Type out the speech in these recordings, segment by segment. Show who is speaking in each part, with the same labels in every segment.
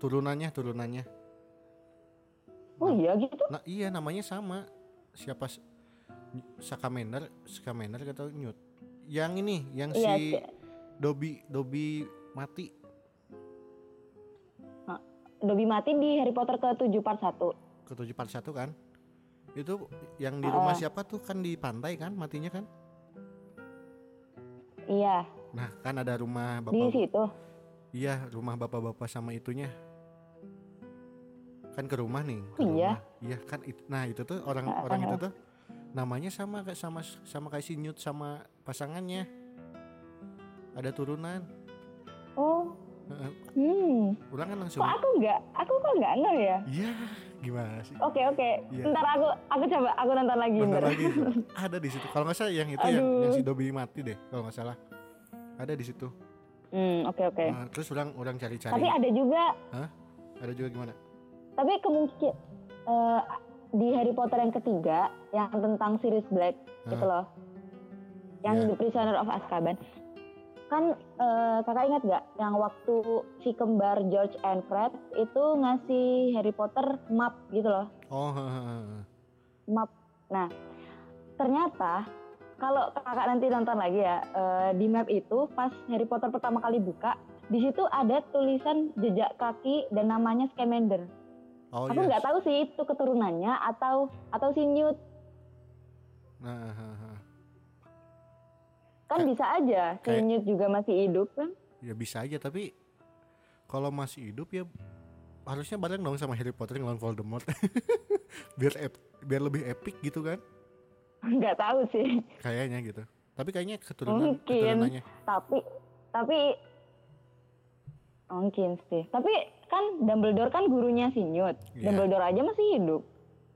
Speaker 1: turunannya turunannya
Speaker 2: Oh iya gitu.
Speaker 1: nah iya namanya sama siapa s- Sakamender Sakamender kata Newt yang ini yang
Speaker 2: Iya,
Speaker 1: si
Speaker 2: si-
Speaker 1: Dobby Dobby mati
Speaker 2: Dobby mati di Harry Potter ke-7 part 1.
Speaker 1: ke 7 part 1 kan itu yang di rumah
Speaker 2: Ah.
Speaker 1: siapa tuh kan di pantai kan matinya kan
Speaker 2: Iya,
Speaker 1: nah kan ada rumah
Speaker 2: di
Speaker 1: bapak
Speaker 2: situ.
Speaker 1: iya rumah bapak-bapak sama itunya kan ke rumah nih ke
Speaker 2: Iya.
Speaker 1: rumah. iya kan it- nah itu tuh orang
Speaker 2: Ah,
Speaker 1: orang
Speaker 2: ah.
Speaker 1: itu tuh namanya sama kayak sama sama kayak si Newt sama pasangannya ada turunan
Speaker 2: Oh.
Speaker 1: Heeh,
Speaker 2: Hmm.
Speaker 1: orang kan langsung
Speaker 2: Kok aku nggak? Aku kok nggak ngeh ya?
Speaker 1: iya gimana sih
Speaker 2: Oke, oke.
Speaker 1: Iya.
Speaker 2: Ntar aku aku coba aku nonton lagi
Speaker 1: Bentar
Speaker 2: ntar.
Speaker 1: lagi itu. ada di situ kalau nggak salah yang itu yang,
Speaker 2: Aduh.
Speaker 1: yang si Dobby mati deh kalau nggak salah ada di situ
Speaker 2: Hmm, oke oke.
Speaker 1: Nah, terus orang orang cari-cari
Speaker 2: Tapi ada juga
Speaker 1: ada juga gimana
Speaker 2: tapi kemungkinan eh, di Harry Potter yang ketiga yang tentang Sirius Black gitu loh yang
Speaker 1: Iya.
Speaker 2: The Prisoner of Azkaban kan eh, kakak ingat gak yang waktu si kembar George and Fred itu ngasih Harry Potter map gitu loh
Speaker 1: oh hehehe.
Speaker 2: map nah ternyata kalau kakak nanti nonton lagi ya eh, di map itu pas Harry Potter pertama kali buka di situ ada tulisan jejak kaki dan namanya Scamander
Speaker 1: oh
Speaker 2: aku
Speaker 1: iya.
Speaker 2: nggak tahu sih itu keturunannya atau atau si Newt
Speaker 1: Nah, hehehe.
Speaker 2: kan bisa aja si
Speaker 1: kayak-
Speaker 2: Newt juga masih hidup kan
Speaker 1: ya bisa aja tapi kalau masih hidup ya harusnya bareng dong sama Harry Potter ngelawan Voldemort biar ep- biar lebih epic gitu kan
Speaker 2: nggak tahu sih
Speaker 1: kayaknya gitu tapi kayaknya keturunan
Speaker 2: Mungkin.
Speaker 1: keturunannya
Speaker 2: tapi tapi mungkin sih tapi kan Dumbledore kan gurunya si Newt
Speaker 1: Iya.
Speaker 2: Dumbledore aja masih hidup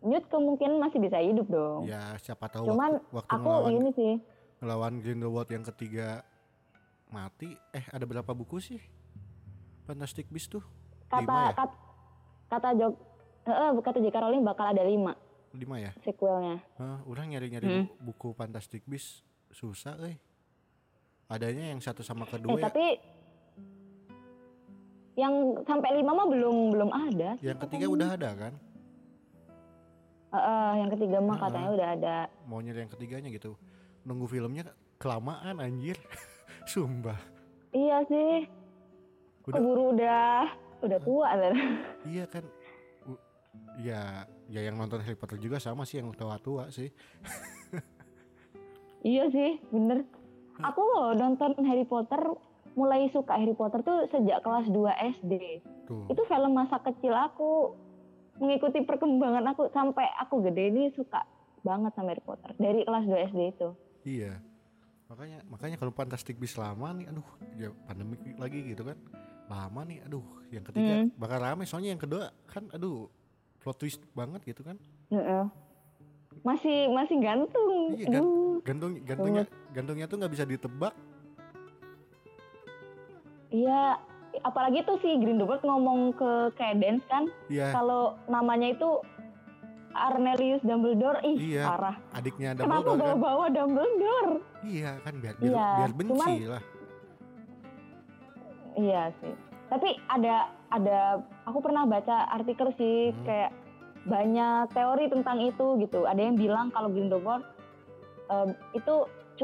Speaker 2: Newt kemungkinan masih bisa hidup dong
Speaker 1: ya siapa tahu
Speaker 2: Cuman
Speaker 1: waktu, waktu
Speaker 2: aku
Speaker 1: ngelawan
Speaker 2: ini sih
Speaker 1: ngelawan Grindelwald yang ketiga mati eh ada berapa buku sih Fantastic Beasts tuh
Speaker 2: kata
Speaker 1: lima ya
Speaker 2: kat- kata Jok eh, kata J.K. Rowling bakal ada lima
Speaker 1: lima ya
Speaker 2: sequelnya
Speaker 1: Hah, orang nyari-nyari
Speaker 2: Hmm.
Speaker 1: bu- buku Fantastic Beasts susah eh. Adanya yang satu sama
Speaker 2: eh
Speaker 1: kedua ya.
Speaker 2: tapi yang sampai lima mah belum belum ada sih
Speaker 1: Yang ketiga
Speaker 2: katanya.
Speaker 1: udah ada kan?
Speaker 2: Eh, eh, yang ketiga mah
Speaker 1: Heeh.
Speaker 2: katanya udah ada.
Speaker 1: Mau nyari yang ketiganya gitu. Nunggu filmnya kelamaan anjir. Sumpah.
Speaker 2: Iya sih.
Speaker 1: Udah. Hmm.
Speaker 2: Keburu udah udah tua kan.
Speaker 1: Iya kan. U- Ya, ya yang nonton Harry Potter juga sama sih yang tua-tua sih.
Speaker 2: iya sih, bener.
Speaker 1: Hmm.
Speaker 2: Aku loh nonton Harry Potter mulai suka Harry Potter tuh sejak kelas 2 SD.
Speaker 1: Tuh.
Speaker 2: Itu film masa kecil aku mengikuti perkembangan aku sampai aku gede ini suka banget sama Harry Potter dari kelas 2 SD itu.
Speaker 1: Iya. Makanya makanya kalau Fantastic Beasts lama nih aduh, ya pandemi lagi gitu kan. Lama nih aduh, yang ketiga
Speaker 2: Hmm.
Speaker 1: bakal rame soalnya yang kedua kan aduh plot twist banget gitu kan.
Speaker 2: Heeh. Masih masih gantung.
Speaker 1: Iya, gan-
Speaker 2: Aduh.
Speaker 1: gantung gantungnya gantungnya tuh nggak bisa ditebak
Speaker 2: Iya, apalagi tuh si Grindelwald ngomong ke Cadence kan
Speaker 1: ya
Speaker 2: kalau namanya itu Arnelius Dumbledore ih
Speaker 1: Iya,
Speaker 2: parah
Speaker 1: adiknya
Speaker 2: kenapa
Speaker 1: Dumbledore kan
Speaker 2: bawa-bawa Dumbledore
Speaker 1: iya kan biar biar,
Speaker 2: Iya,
Speaker 1: biar benci
Speaker 2: cuman-
Speaker 1: lah
Speaker 2: iya sih tapi ada ada aku pernah baca artikel sih
Speaker 1: Hmm.
Speaker 2: kayak banyak teori tentang itu gitu ada yang bilang kalau Grindelwald em, itu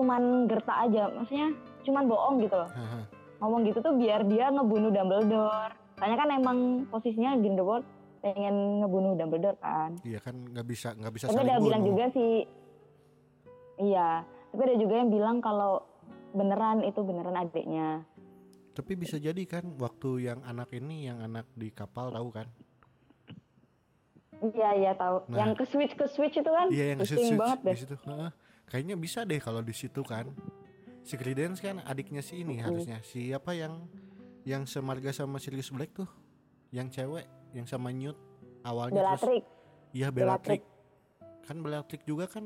Speaker 2: cuman gerta aja maksudnya cuman bohong gitu loh
Speaker 1: Haha.
Speaker 2: ngomong gitu tuh biar dia ngebunuh Dumbledore Soalnya kan emang posisinya Grindelwald pengen ngebunuh Dumbledore kan
Speaker 1: iya kan nggak bisa nggak bisa
Speaker 2: tapi
Speaker 1: saling
Speaker 2: ada yang bilang
Speaker 1: bunuh.
Speaker 2: juga sih iya tapi ada juga yang bilang kalau beneran itu beneran adiknya
Speaker 1: tapi bisa jadi kan waktu yang anak ini yang anak di kapal tahu kan
Speaker 2: iya iya tahu
Speaker 1: Nah.
Speaker 2: yang ke switch ke switch itu kan
Speaker 1: iya yang
Speaker 2: pusing
Speaker 1: switch-
Speaker 2: banget
Speaker 1: di
Speaker 2: deh
Speaker 1: situ Heeh. kayaknya bisa deh kalau di situ kan si Credence kan adiknya si ini
Speaker 2: Mm-mm.
Speaker 1: harusnya siapa yang yang semarga sama Sirius Black tuh yang cewek yang sama Newt awalnya terus
Speaker 2: Bellatrix
Speaker 1: Iya Bellatrix.
Speaker 2: Bellatrix.
Speaker 1: Kan Bellatrix juga kan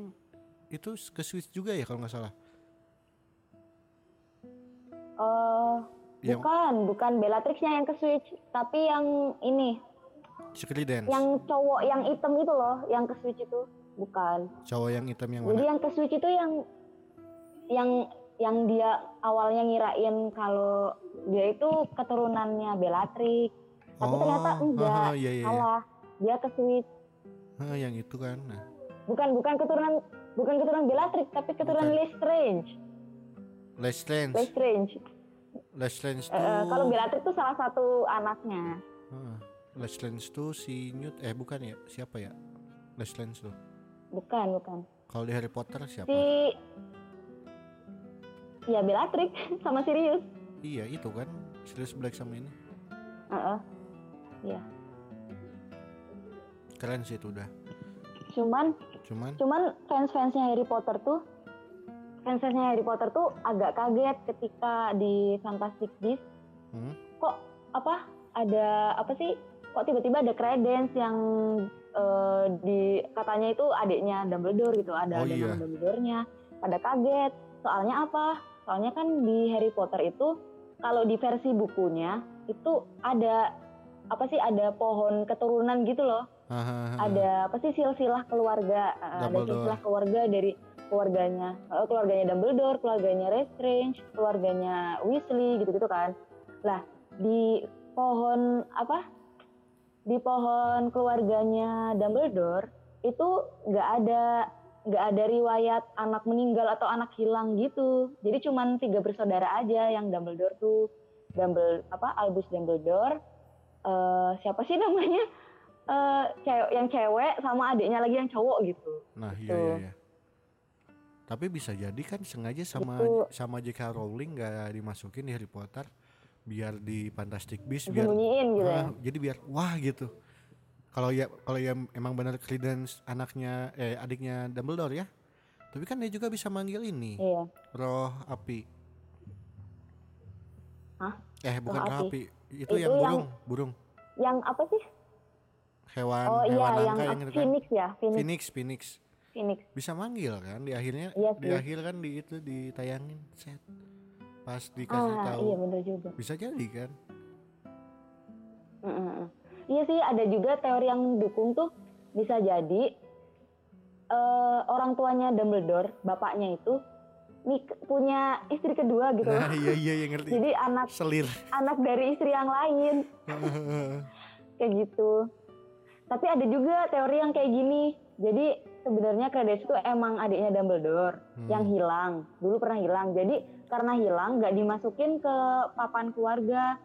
Speaker 1: itu ke Swiss juga ya kalau nggak salah.
Speaker 2: eh
Speaker 1: Yang
Speaker 2: bukan bukan Bellatrixnya yang ke switch tapi yang ini
Speaker 1: Secret Dance.
Speaker 2: yang cowok yang hitam itu loh yang ke switch itu bukan
Speaker 1: Cowok yang hitam yang
Speaker 2: jadi
Speaker 1: mana?
Speaker 2: yang ke switch itu yang yang yang dia awalnya ngirain kalau dia itu keturunannya Bellatrix Tapi ternyata enggak.
Speaker 1: haha, iya, iya, iya.
Speaker 2: salah dia ke Switch
Speaker 1: Haha, yang itu kan. Nah,
Speaker 2: bukan bukan keturunan bukan keturunan Bellatrix tapi keturunan
Speaker 1: Bukan.
Speaker 2: Lestrange
Speaker 1: Lestrange,
Speaker 2: Lestrange
Speaker 1: Lestrange
Speaker 2: Eh, eh,
Speaker 1: tuh.
Speaker 2: kalau Bellatrix itu salah satu anaknya
Speaker 1: Heeh. Lestrange tuh si Newt eh bukan ya siapa ya Lestrange tuh
Speaker 2: bukan bukan
Speaker 1: kalau di Harry Potter siapa
Speaker 2: si ya Bellatrix sama Sirius
Speaker 1: iya itu kan Sirius Black sama ini
Speaker 2: Heeh.
Speaker 1: keren sih itu udah
Speaker 2: cuman
Speaker 1: cuman
Speaker 2: cuman fans-fansnya Harry Potter tuh fans-fansnya Harry Potter tuh agak kaget ketika di Fantastic Beasts
Speaker 1: hmm,
Speaker 2: kok apa ada apa sih kok tiba-tiba ada Credence yang eh, di katanya itu adiknya Dumbledore gitu ada
Speaker 1: Oh,
Speaker 2: ada
Speaker 1: iya.
Speaker 2: nama Dumbledore-nya pada kaget soalnya apa soalnya kan di Harry Potter itu kalau di versi bukunya itu ada apa sih ada pohon keturunan gitu loh
Speaker 1: hahaha.
Speaker 2: ada apa sih silsilah keluarga eh, ada
Speaker 1: Dumbledore.
Speaker 2: silsilah keluarga dari keluarganya eh, keluarganya Dumbledore keluarganya Lestrange keluarganya Weasley gitu-gitu kan lah di pohon apa di pohon keluarganya Dumbledore itu nggak ada nggak ada riwayat anak meninggal atau anak hilang gitu jadi cuman tiga bersaudara aja yang Dumbledore tuh Dumbledore apa Albus Dumbledore eh, siapa sih namanya eh cewek yang cewek sama adiknya lagi yang cowok gitu.
Speaker 1: nah iya
Speaker 2: gitu.
Speaker 1: iya iya tapi bisa jadi kan sengaja sama
Speaker 2: Gitu.
Speaker 1: sama J.K. Rowling nggak dimasukin di Harry Potter biar di Fantastic Beasts biar
Speaker 2: Sembunyiin gitu ya.
Speaker 1: Ah, jadi biar wah gitu kalau ya kalau ya emang benar Credence anaknya eh adiknya Dumbledore ya tapi kan dia juga bisa manggil ini
Speaker 2: Iya.
Speaker 1: roh api
Speaker 2: Hah?
Speaker 1: eh bukan roh
Speaker 2: Roh
Speaker 1: api, itu,
Speaker 2: Itu
Speaker 1: yang
Speaker 2: yang-
Speaker 1: burung burung
Speaker 2: Yang apa sih?
Speaker 1: Kan hewan
Speaker 2: Oh iya
Speaker 1: hewan
Speaker 2: yang
Speaker 1: langka yang itu kan
Speaker 2: Phoenix ya, Phoenix,
Speaker 1: phoenix phoenix
Speaker 2: Phoenix.
Speaker 1: bisa manggil kan di akhirnya
Speaker 2: Iya
Speaker 1: di
Speaker 2: sih.
Speaker 1: akhir kan di itu ditayangin set pas dikasih
Speaker 2: Ah
Speaker 1: tahu
Speaker 2: iya bener juga.
Speaker 1: bisa jadi kan
Speaker 2: Mm, mm, mm. Iya sih ada juga teori yang mendukung tuh bisa jadi eh, orang tuanya Dumbledore, bapaknya itu nik- punya istri kedua gitu.
Speaker 1: nah iya iya yang ngerti
Speaker 2: Jadi anak
Speaker 1: selir
Speaker 2: anak dari istri yang lain. kayak gitu. Tapi ada juga teori yang kayak gini. Jadi sebenarnya Credence itu emang adiknya Dumbledore
Speaker 1: Hmm.
Speaker 2: yang hilang. Dulu pernah hilang. Jadi karena hilang nggak dimasukin ke papan keluarga.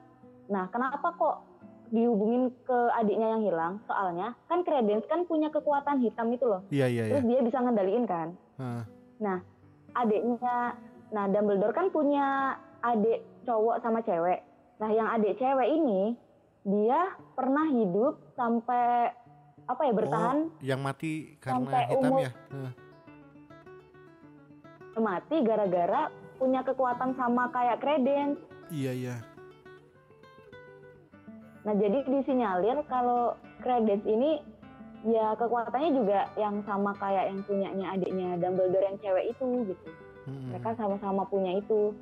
Speaker 2: Nah, kenapa kok dihubungin ke adiknya yang hilang? Soalnya kan Credence kan punya kekuatan hitam itu loh.
Speaker 1: iya iya iya
Speaker 2: Terus dia bisa ngendaliin kan.
Speaker 1: Heeh.
Speaker 2: Adiknya nah Dumbledore kan punya adik cowok sama cewek. Nah, yang adik cewek ini dia pernah hidup sampai apa ya bertahan
Speaker 1: yang mati karena
Speaker 2: sampai
Speaker 1: hitam
Speaker 2: umur-
Speaker 1: ya Heeh.
Speaker 2: mati gara-gara punya kekuatan sama kayak Credence.
Speaker 1: iya iya
Speaker 2: Nah, jadi disinyalir kalau Credence ini ya kekuatannya juga yang sama kayak yang punyanya adiknya Dumbledore yang cewek itu gitu.
Speaker 1: Heeh.
Speaker 2: Mereka sama-sama punya itu.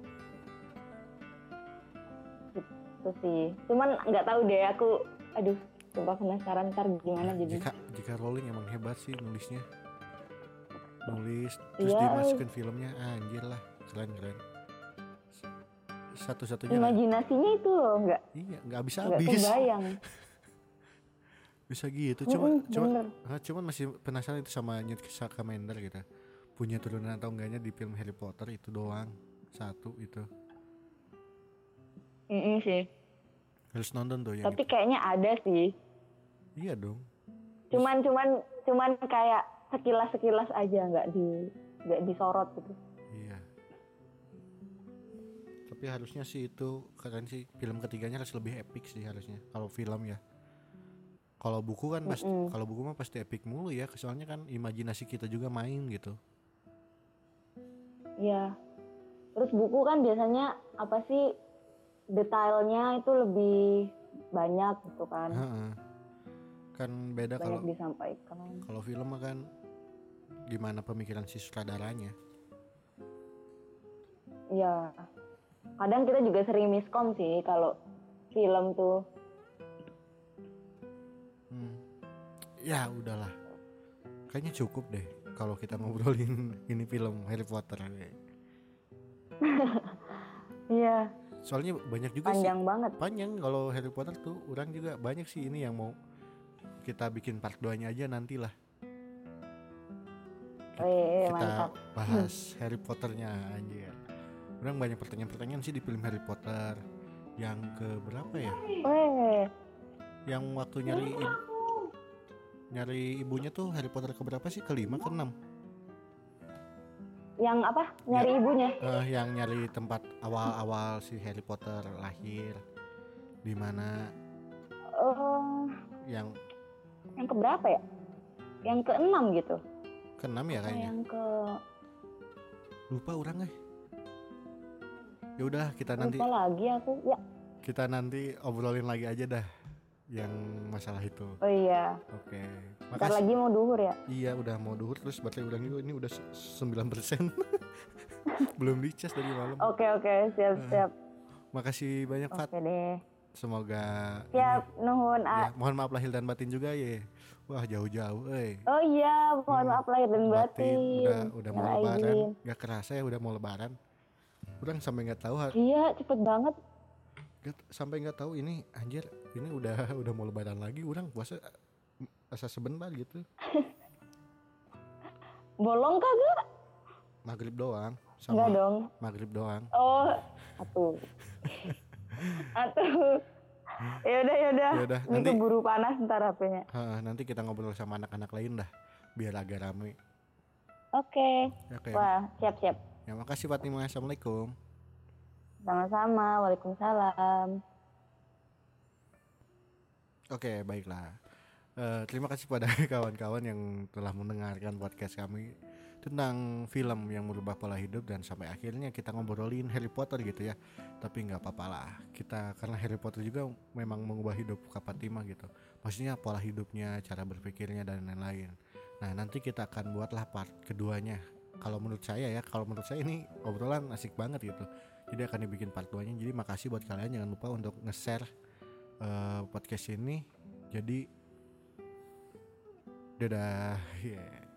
Speaker 2: Gitu sih. Cuman nggak tahu deh aku aduh coba penasaran ntar
Speaker 1: Nah,
Speaker 2: gimana jadi.
Speaker 1: Ya, jika jika Rowling emang hebat sih nulisnya nulis terus
Speaker 2: Iya.
Speaker 1: dimasukin filmnya Ah, anjir lah keren keren satu-satunya lah.
Speaker 2: Imajinasinya itu loh nggak
Speaker 1: iya nggak bisa
Speaker 2: nggak
Speaker 1: habis
Speaker 2: kebayang.
Speaker 1: bisa gitu
Speaker 2: Mm-mm,
Speaker 1: cuma cuma
Speaker 2: bener.
Speaker 1: ah, cuman masih penasaran itu sama Newt Scamander gitu punya turunan atau enggaknya di film Harry Potter itu doang satu itu
Speaker 2: Mm-mm sih.
Speaker 1: harus nonton tuh yang
Speaker 2: Tapi
Speaker 1: itu.
Speaker 2: kayaknya ada sih.
Speaker 1: iya dong
Speaker 2: Cuman cuman cuman kayak sekilas sekilas aja nggak di nggak disorot gitu.
Speaker 1: Iya. Tapi harusnya sih itu keren sih film ketiganya harus lebih epic sih harusnya kalau film ya. Kalau buku kan pasti
Speaker 2: Mm-mm.
Speaker 1: kalau buku mah pasti epic mulu ya, soalnya kan imajinasi kita juga main gitu.
Speaker 2: Iya. Terus buku kan biasanya apa sih detailnya itu lebih banyak gitu kan.
Speaker 1: Heeh. Kan beda
Speaker 2: banyak
Speaker 1: kalau
Speaker 2: disampaikan.
Speaker 1: kalau film mah kan gimana pemikiran si sutradaranya.
Speaker 2: Iya. Kadang kita juga sering miskom sih kalau film tuh.
Speaker 1: Hmm. Ya udahlah. Kayaknya cukup deh kalau kita ngobrolin ini film Harry Potter.
Speaker 2: Iya.
Speaker 1: soalnya banyak juga sih
Speaker 2: panjang banget
Speaker 1: panjang kalau Harry Potter tuh orang juga banyak sih ini yang mau kita bikin part 2 nya aja nantilah kita
Speaker 2: Wih, Iya, mantap
Speaker 1: bahas Harry Potternya anjir orang banyak pertanyaan-pertanyaan sih di film Harry Potter yang ke berapa ya
Speaker 2: Wih,
Speaker 1: yang waktu
Speaker 2: Iya,
Speaker 1: nyari i- nyari ibunya tuh Harry Potter ke berapa sih kelima keenam
Speaker 2: yang apa nyari ibunya
Speaker 1: Eh, yang nyari tempat awal-awal si Harry Potter lahir di mana
Speaker 2: Eh,
Speaker 1: yang
Speaker 2: yang keberapa ya yang keenam gitu
Speaker 1: keenam ya
Speaker 2: Oh,
Speaker 1: kayaknya
Speaker 2: yang ke
Speaker 1: lupa orang eh ya udah kita nanti
Speaker 2: lupa lagi aku ya
Speaker 1: kita nanti obrolin lagi aja dah yang masalah itu
Speaker 2: oh iya
Speaker 1: oke
Speaker 2: Bentar
Speaker 1: makasih
Speaker 2: lagi mau duhur ya
Speaker 1: iya udah mau duhur terus baterai udah juga ini udah 9% belum dicas dari malam
Speaker 2: oke oke siap siap
Speaker 1: makasih banyak Hmm, Fat
Speaker 2: Oh. oke deh
Speaker 1: semoga
Speaker 2: siap nuhun
Speaker 1: ini- ya,
Speaker 2: ah
Speaker 1: mohon maaf lahir dan batin juga ya wah jauh-jauh eh
Speaker 2: oh iya mohon
Speaker 1: Hmm.
Speaker 2: maaf lahir dan batin
Speaker 1: udah udah mau
Speaker 2: Minal
Speaker 1: lebaran
Speaker 2: aidin.
Speaker 1: nggak kerasa ya udah mau lebaran kurang sampai nggak tahu har-
Speaker 2: iya cepet banget
Speaker 1: nggak- sampai nggak tahu ini anjir ini udah udah mau lebaran lagi orang puasa asa sebentar gitu
Speaker 2: bolong kagak
Speaker 1: maghrib doang
Speaker 2: enggak
Speaker 1: sama
Speaker 2: dong
Speaker 1: maghrib doang
Speaker 2: oh atuh atuh yaudah yaudah
Speaker 1: ya udah
Speaker 2: ini
Speaker 1: nanti
Speaker 2: keburu panas ntar HP-nya
Speaker 1: Heeh, nanti kita ngobrol sama anak-anak lain dah biar agak rame
Speaker 2: oke
Speaker 1: oke
Speaker 2: wah siap siap
Speaker 1: ya makasih Fatimah assalamualaikum
Speaker 2: sama-sama waalaikumsalam
Speaker 1: Oke, baiklah. Eh, terima kasih pada kawan-kawan yang telah mendengarkan podcast kami tentang film yang merubah pola hidup dan sampai akhirnya kita ngobrolin Harry Potter gitu ya. Tapi nggak apa-apa lah. Kita karena Harry Potter juga memang mengubah hidup Kak Fatima gitu. Maksudnya pola hidupnya, cara berpikirnya dan lain-lain. Nah, nanti kita akan buatlah part keduanya. Kalau menurut saya ya, kalau menurut saya ini obrolan asik banget gitu. Jadi akan dibikin part 2-nya. Jadi makasih buat kalian jangan lupa untuk nge-share eh, podcast ini jadi dadah yeah.